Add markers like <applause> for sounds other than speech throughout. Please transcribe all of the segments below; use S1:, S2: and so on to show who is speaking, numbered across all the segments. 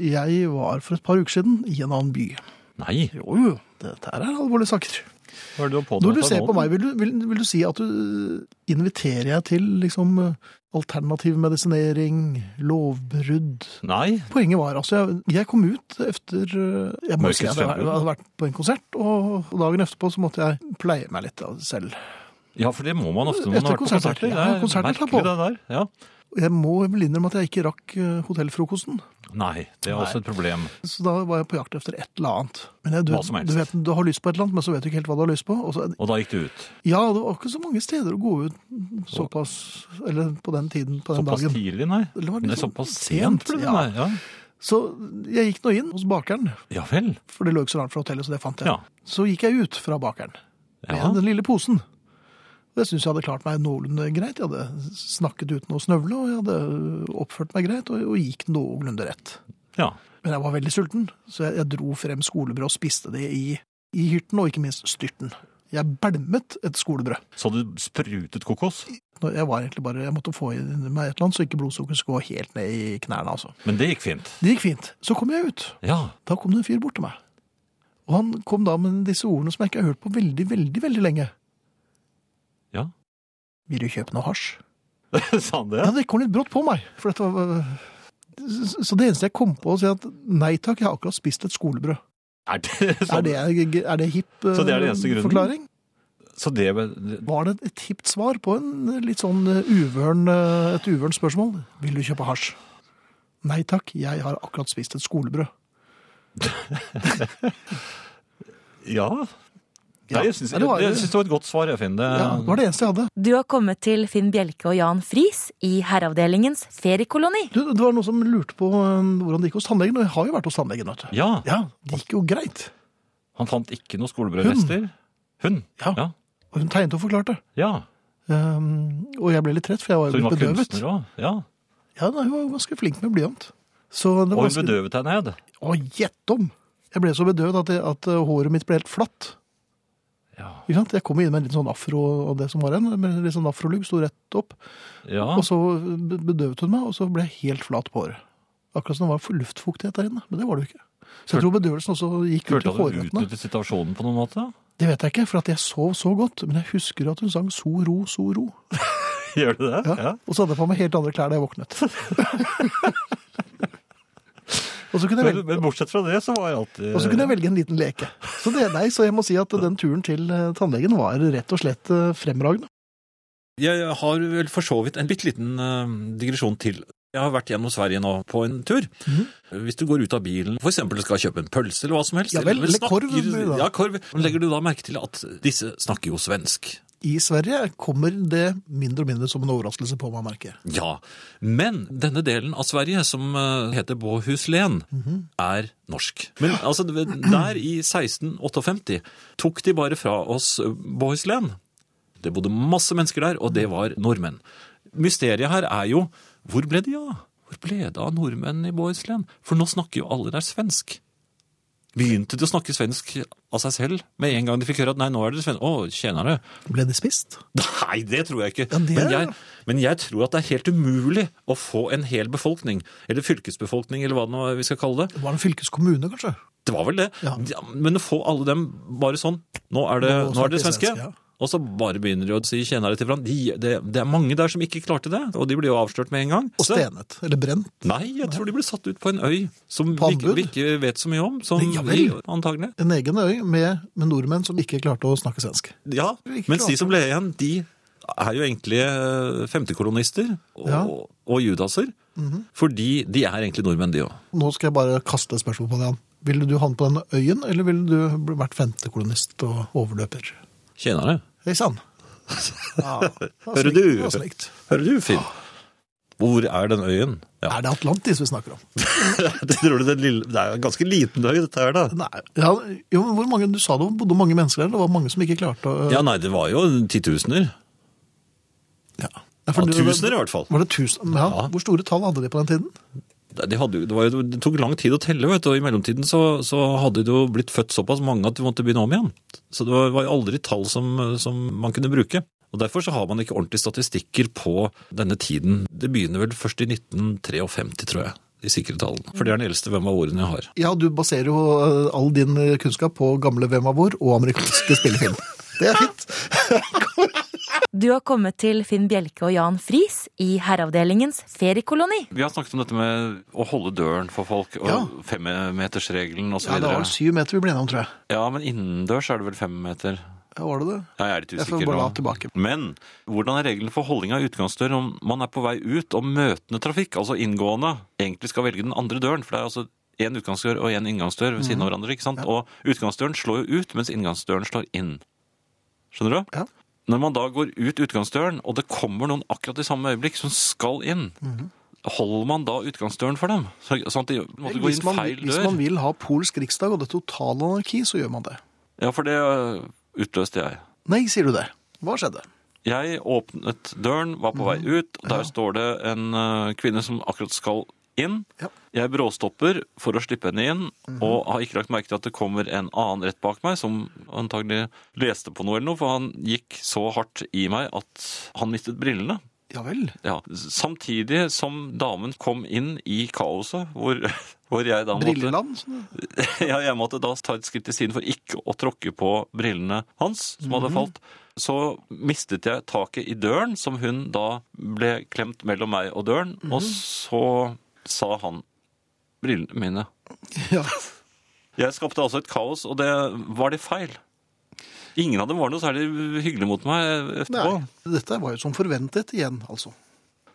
S1: Jeg var for et par uker siden i en annen by.
S2: Nei,
S1: Jo, jo, dette her er alvorlige saker.
S2: hva er det du har påtatt
S1: Når du
S2: deg
S1: ser
S2: nå?
S1: på meg, vil du, vil, vil du si at du inviterer jeg til liksom alternativ medisinering, lovbrudd?
S2: Nei,
S1: Poenget var altså, jeg, jeg kom ut efter eh, Jeg må
S2: Mørkets
S1: si at jeg
S2: frembrudd.
S1: hadde vært på en konsert, og dagen etterpå så måtte jeg pleie meg litt av selv.
S2: ja, for det må man ofte når man
S1: Etter
S2: har vært på
S1: konserter,
S2: konserter.
S1: ja, konserter tar på.
S2: merkelig det der. Ja.
S1: Jeg må vel innrømme at jeg ikke rakk eh, hotellfrokosten,
S2: Nei, det er
S1: Nei.
S2: også et problem.
S1: så da var jeg på jakt efter et eller annet. Men jeg, du,
S2: Hva som helst.
S1: du vet, du har lyst på et eller annet, men så vet du ikke helt hva du har lyst på. Og så,
S2: Og da gikk det ut.
S1: ja, det var ikke så mange steder å gå ut såpass, eller på den tiden, på den
S2: Såpass
S1: dagen.
S2: tidlig, nei.
S1: Det var
S2: Nei,
S1: liksom
S2: såpass
S1: sent,
S2: sent ble det,
S1: ja.
S2: nei. Ja.
S1: Så jeg gikk nå inn hos bakeren,
S2: ja vel.
S1: for det lå ikke så langt fra hotellet, så det fant jeg.
S2: Ja.
S1: Så gikk jeg ut fra bakeren med
S2: Ja.
S1: den lille posen. Og Det syns jeg hadde klart meg noenlunde greit. Jeg hadde snakket uten å snøvle, og jeg hadde oppført meg greit, og, og gikk noenlunde rett.
S2: ja.
S1: Men jeg var veldig sulten, så jeg, jeg dro frem skolebrød og spiste det i, i hyrten, og ikke minst styrten. Jeg belmet et skolebrød.
S2: Så du sprutet kokos?
S1: Når Jeg var egentlig bare, jeg måtte få i meg et eller annet, så ikke blodsukkeret skulle gå helt ned i knærne. altså.
S2: Men det gikk fint.
S1: Det gikk fint. Så kom jeg ut.
S2: Ja. <laughs>
S1: Da kom det en fyr bort til meg. Og han kom da med disse ordene som jeg ikke har hørt på veldig, veldig veldig lenge.
S2: Ja.
S1: Vil du kjøpe noe hasj?
S2: Sa han det?
S1: Ja, det kom litt brått på meg. For dette var, så det eneste jeg kom på, å si at nei takk, jeg har akkurat spist et skolebrød.
S2: Er det, sånn- så,
S1: Er det, er det hipp eh,
S2: Så det er den eneste grunnen?
S1: forklaring?
S2: så det
S1: Var det et hipt svar på en litt sånn uvøren, eh, et uvørent spørsmål? Vil du kjøpe hasj? Nei takk, jeg har akkurat spist et skolebrød.
S2: Ja. Nei, jeg syns
S1: Ja,
S2: jeg
S1: det var-
S2: syns det var et godt svar, jeg, Finn. Det,
S1: Ja, det var det eneste jeg hadde.
S3: Du har kommet til Finn Bjelke og Jan Friis i Herreavdelingens feriekoloni.
S1: Du, det var noen som lurte på eh, hvordan det gikk hos tannlegen, og jeg har jo vært hos tannlegen. vet du.
S2: ja.
S1: Ja, det gikk jo greit.
S2: Han fant ikke noe skolebrødrester. Hun.
S1: Ja.
S2: Ja.
S1: Og hun tegnet og forklarte.
S2: ja.
S1: Um, og jeg ble litt trett, for jeg var
S2: Så
S1: jo
S2: hun
S1: litt
S2: var
S1: bedøvet.
S2: kunstner òg. Ja.
S1: Ja, nei, Hun var ganske flink med blyant. Så det
S2: Og
S1: var
S2: hun
S1: ganske...
S2: bedøvet deg ned.
S1: Å, gjett om! Jeg ble så bedøvet at, jeg, at eh, håret mitt ble helt flatt.
S2: Ja.
S1: Ikke sant? Jeg kom inn med en litt sånn afro og det som var en, med litt sånn afrolugg, sto rett opp.
S2: ja.
S1: Og så be- bedøvet hun meg, og så ble jeg helt flat på håret. Akkurat som det var luftfuktighet der inne, men det var det jo ikke. Så jeg tror bedøvelsen også gikk ut i
S2: Følte at du
S1: hårrøttene.
S2: utnyttet situasjonen på noen måte? <laughs>
S1: Det vet jeg ikke, for at jeg sov så godt, men jeg husker at hun sang So ro, so ro.
S2: Gjør du det?
S1: Ja. Og så hadde jeg på meg helt andre klær da jeg
S2: <laughs>
S1: våknet. og så kunne jeg
S2: Men,
S1: velge...
S2: men bortsett fra det, så var jeg alltid
S1: Og så kunne jeg velge en liten leke. Så, det, nei, så jeg må si at den turen til eh, tannlegen var rett og slett eh, fremragende.
S2: Jeg har vel for så vidt en bitte liten eh, digresjon til. Jeg har vært gjennom Sverige nå på en tur.
S1: Mhm.
S2: Hvis du går ut av bilen, for eksempel skal kjøpe en pølse eller hva som helst.
S1: Ja vel, eller Mm. korv, da.
S2: snakker, ja, korv. Men legger du da merke til at disse snakker jo svensk?
S1: I Sverige kommer det mindre og mindre som en overraskelse på meg, merker jeg.
S2: Ja, men denne delen av Sverige som eh, heter Båhuslen er norsk. Men altså, du vet, der i 1658 tok de bare fra oss Båhuslen. Det bodde masse mennesker der, og det var nordmenn. Mysteriet her er jo, hvor ble de av? Hvor ble det av nordmenn i Båhuslen? For nå snakker jo alle der svensk. Begynte de å snakke svensk av seg selv med en gang de fikk høre at nei, nå er dere svenske. Å, tjenere.
S1: Ble det spist?
S2: Nei, det tror jeg ikke.
S1: Ja, det er-
S2: men, jeg, men jeg tror at det er helt umulig å få en hel befolkning, eller fylkesbefolkning, eller hva det nå er vi skal kalle det.
S1: Det var en fylkeskommune, kanskje?
S2: Det var vel det.
S1: Ja.
S2: Ja, Men å få alle dem bare sånn Nå er det,
S1: Nå
S2: nå er det
S1: snakker
S2: svenske.
S1: svenske, ja.
S2: Og så bare begynner de å si tjenere til hverandre. De, det, det er mange der som ikke klarte det, og de blir jo avslørt med en gang.
S1: Og
S2: Så-
S1: stenet? Eller brent?
S2: Nei, jeg tror de ble satt ut på en øy som
S1: På
S2: vi, ikke-
S1: anbud?
S2: vi ikke vet så mye om. Som
S1: Ja vel.
S2: vi- antagelig.
S1: En egen øy med, med nordmenn som ikke klarte å snakke svensk.
S2: Ja,
S1: Ikke
S2: mens de
S1: klart.
S2: som ble igjen, de er jo egentlig eh, femtekolonister og,
S1: Ja. Mhm.
S2: og judaser. Fordi de er egentlig nordmenn, de òg.
S1: Nå skal jeg bare kaste et spørsmål på deg, Jan. Ville du havnet på den øyen, eller ville du bl- vært femtekolonist og overløper?
S2: Tjenere.
S1: Hei
S2: <laughs>
S1: sann! Ja, det var
S2: Ah. Hører
S1: slikt,
S2: du?
S1: det var slikt.
S2: Hører du, Finn? Hvor er den øyen? Ja.
S1: Er det Atlantis vi snakker om?
S2: det <laughs> tror du den lille Det er jo en ganske liten øy, dette her, da.
S1: Nei, ja, jo, men hvor mange, Du sa det bodde mange mennesker der, det var mange som ikke klarte å
S2: Ja, nei, det var jo titusener.
S1: Ja. Ja, for
S2: Ja,
S1: du-
S2: tusener i hvert fall.
S1: Var det tusen? Ja.
S2: Ja.
S1: Hvor store tall hadde de på den tiden?
S2: De hadde, jo- det, var jo, det tok lang tid å telle, vet du, og i mellomtiden så, så hadde det jo blitt født såpass mange at de måtte begynne om igjen. Så det var, var jo aldri tall som, som man kunne bruke. Og Derfor så har man ikke ordentlige statistikker på denne tiden. Det begynner vel først i 1953, tror jeg. de sikre tallene. For det er den eldste hvem av ordene jeg har.
S1: Ja, du baserer jo eh, all din eh, kunnskap på gamle Hvem av vår og amerikanske <laughs> spillefilm. Det er fint.
S3: Du har kommet til Finn Bjelke og Jan Friis i Herreavdelingens feriekoloni.
S2: Vi har snakket om dette med å holde døren for folk, og
S1: Ja.
S2: femmetersregelen osv.
S1: Ja, det var vel syv meter vi ble enige om, tror jeg.
S2: Ja, men innendørs er det vel fem meter?
S1: Ja, var det det?
S2: Ja, Jeg er litt
S1: Jeg
S2: usikker
S1: får bare
S2: nå.
S1: la tilbake.
S2: Men hvordan er reglene for holding av utgangsdør om man er på vei ut og møtende trafikk, altså inngående, egentlig skal velge den andre døren? For det er altså én utgangsdør og én inngangsdør ved
S1: Mhm.
S2: siden av hverandre. ikke sant? Og utgangsdøren slår jo ut, mens inngangsdøren slår inn. Skjønner du?
S1: Ja.
S2: Når man da går ut utgangsdøren, og det kommer noen akkurat i samme øyeblikk som skal inn,
S1: Mhm.
S2: holder man da utgangsdøren for dem? Så- Sånn at de måtte gå
S1: Hvis
S2: inn
S1: man,
S2: feil dør?
S1: hvis man vil ha polsk riksdag og det totale anarki, så gjør man det.
S2: Ja, for det øh, utløste jeg.
S1: Nei, sier du det. Hva skjedde?
S2: Jeg åpnet døren, var på vei ut, og der står det en eh, kvinne som akkurat skal inn.
S1: Ja.
S2: Jeg bråstopper for å slippe henne inn, og har ikke lagt merke til at det kommer en annen rett bak meg, som antagelig leste på noe eller noe, for han gikk så hardt i meg at han mistet brillene.
S1: Ja vel.
S2: Ja. Samtidig som damen kom inn i kaoset, hvor, <laughs> hvor jeg da måtte
S1: Brilleland? sånn.
S2: <laughs> ja, jeg måtte da ta et skritt til siden for ikke å tråkke på brillene hans, som
S1: Mhm.
S2: hadde falt. Så mistet jeg taket i døren, som hun da ble klemt mellom meg og døren.
S1: Mhm.
S2: Og så sa han brillene mine.
S1: <laughs> Ja.
S2: Jeg skapte altså et kaos, og det var det feil. Ingen av dem var noe særlig hyggelig mot meg etterpå.
S1: Nei. Dette var jo som forventet igjen, altså.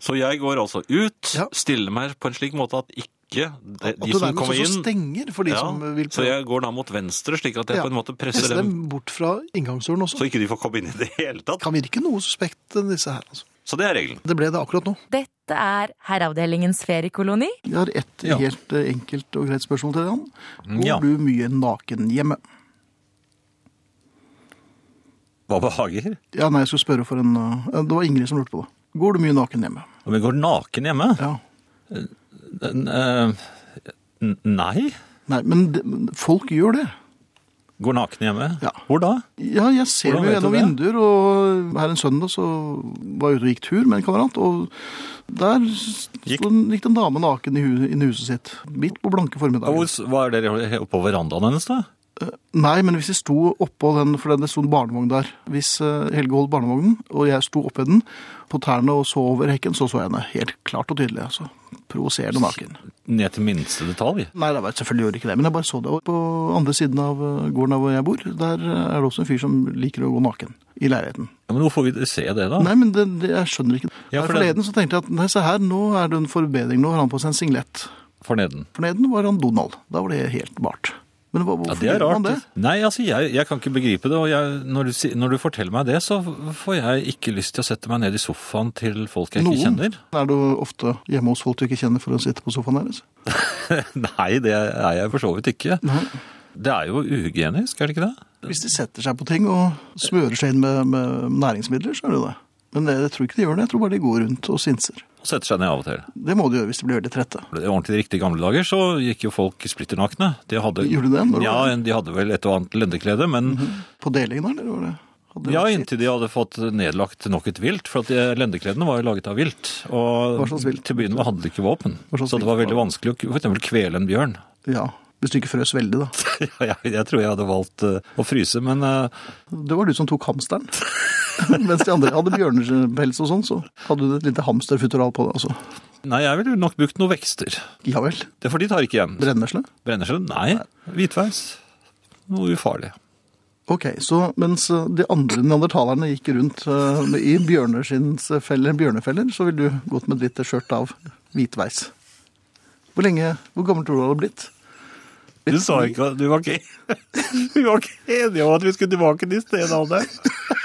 S2: Så jeg går altså ut,
S1: Ja.
S2: stiller meg på en slik måte at ikke de,
S1: At
S2: de
S1: du
S2: som
S1: nærmest
S2: kommer
S1: også
S2: inn
S1: stenger for de
S2: ja,
S1: som vil
S2: Så jeg går da mot venstre, slik at jeg
S1: Ja.
S2: på en måte presser
S1: presse
S2: dem
S1: dem bort fra inngangsdøren også.
S2: Så ikke de får komme inn i det hele tatt.
S1: Kan virke noe suspekt, disse her. altså.
S2: Så det er regelen.
S1: Det ble det akkurat nå.
S3: Dette er Herreavdelingens feriekoloni.
S1: Jeg har ett
S2: Ja.
S1: helt eh, enkelt og greit spørsmål til deg, Jan. Går
S2: ja.
S1: du mye naken hjemme?
S4: Hva behager?
S1: Ja, nei, jeg skulle spørre for en eh, Det var Ingrid som lurte på det. Går du mye naken hjemme?
S4: Om jeg går naken hjemme?
S1: Ja.
S4: N- eh, n- nei.
S1: Nei, men det- men folk gjør det.
S4: Går naken hjemme?
S1: Ja.
S4: Hvor da?
S1: Ja, jeg ser
S4: Hvordan
S1: jo
S4: vet du
S1: gjennom vinduer, og her en søndag så var jeg ute og gikk tur med en kamerat, og der gikk,
S4: Gikk-
S1: gikk det en dame naken i hu- inn i huset sitt, midt på blanke
S4: Og
S1: formiddagen.
S4: Hvor s- var dere oppå verandaen hennes, da?
S1: Nei, men hvis jeg sto oppå den, for det sto en barnevogn der, hvis eh, Helge holdt barnevognen, og jeg sto oppå den, på tærne og så over hekken, så så jeg henne helt klart og tydelig, altså. Provoserende naken.
S4: Ned til minste detalj.
S1: Nei, det var selvfølgelig gjorde ikke det, men jeg bare så det. Og på andre siden av eh, gården av hvor jeg bor, der eh, er det også en fyr som liker å gå naken i leiligheten.
S4: Ja, men hvorfor vil dere se det, da?
S1: Nei, men det, det, jeg skjønner ikke.
S4: Ah. Ja,
S1: Her
S4: for det-
S1: forleden så tenkte jeg at nei, se her, nå er det en forbedring. Nå har han på seg en singlet.
S4: Forneden.
S1: Forleden var han Donald. Da var det helt bart. Men hva,
S4: Ja,
S1: hvorfor
S4: det er
S1: gjør
S4: rart.
S1: man det?
S4: Nei, altså, jeg, jeg kan ikke begripe det. Og jeg, når, du, si- når du forteller meg det, så får jeg ikke lyst til å sette meg ned i sofaen til folk jeg ikke kjenner. <laughs>
S1: Er du ofte hjemme hos folk du ikke kjenner for å sitte på sofaen deres?
S4: Nei, det er jeg for så vidt ikke.
S1: Nei.
S4: Det er jo uhygienisk, er det ikke det?
S1: Hvis de setter seg på ting og smører seg inn med, med næringsmidler, så er det jo det. Men jeg, jeg tror ikke de gjør det. Jeg tror bare de går rundt og sinser.
S4: Og setter seg ned av og til.
S1: Det må de gjøre hvis de blir veldig trette.
S4: Det er ordentlig riktig i gamle dager så gikk jo folk splitter nakne. De hadde,
S1: Gjorde de det? Når det
S4: Ja,
S1: var?
S4: en- de hadde vel et og annet lendeklede, men
S1: På delingen der, eller var det? Hadde
S4: ja,
S1: vært skitt?
S4: inntil de hadde fått nedlagt nok et vilt, for at de lendekledene var jo laget av vilt. Og
S1: Hva slags vilt?
S4: til å begynne med hadde de ikke våpen,
S1: Hva slags
S4: så det var
S1: vilt
S4: veldig vanskelig å for eksempel kvele en bjørn. <laughs>
S1: Ja, hvis du ikke frøs veldig, da.
S4: jeg, jeg tror jeg hadde valgt eh, å fryse, men eh,
S1: Det var du som tok hamsteren. <laughs> Mens de andre hadde bjørnepels og sånn, så hadde du et lite hamsterfutteral på deg også.
S4: nei, jeg ville nok brukt noen vekster.
S1: Ja vel.
S4: Det er for de tar ikke igjen.
S1: Brennesle.
S4: Brennesle? Nei. Hvitveis? Noe ufarlig.
S1: Ok, så mens eh, de andre neandertalerne gikk rundt eh, med- i bjørneskinnsfeller, bjørnefeller, så ville du gått med et lite skjørt av hvitveis. Hvor lenge, hvor gammel tror du du hadde blitt?
S4: <laughs> Du sa ikke at du var ikke, du var ikke enig om at vi skulle tilbake til stedet av det.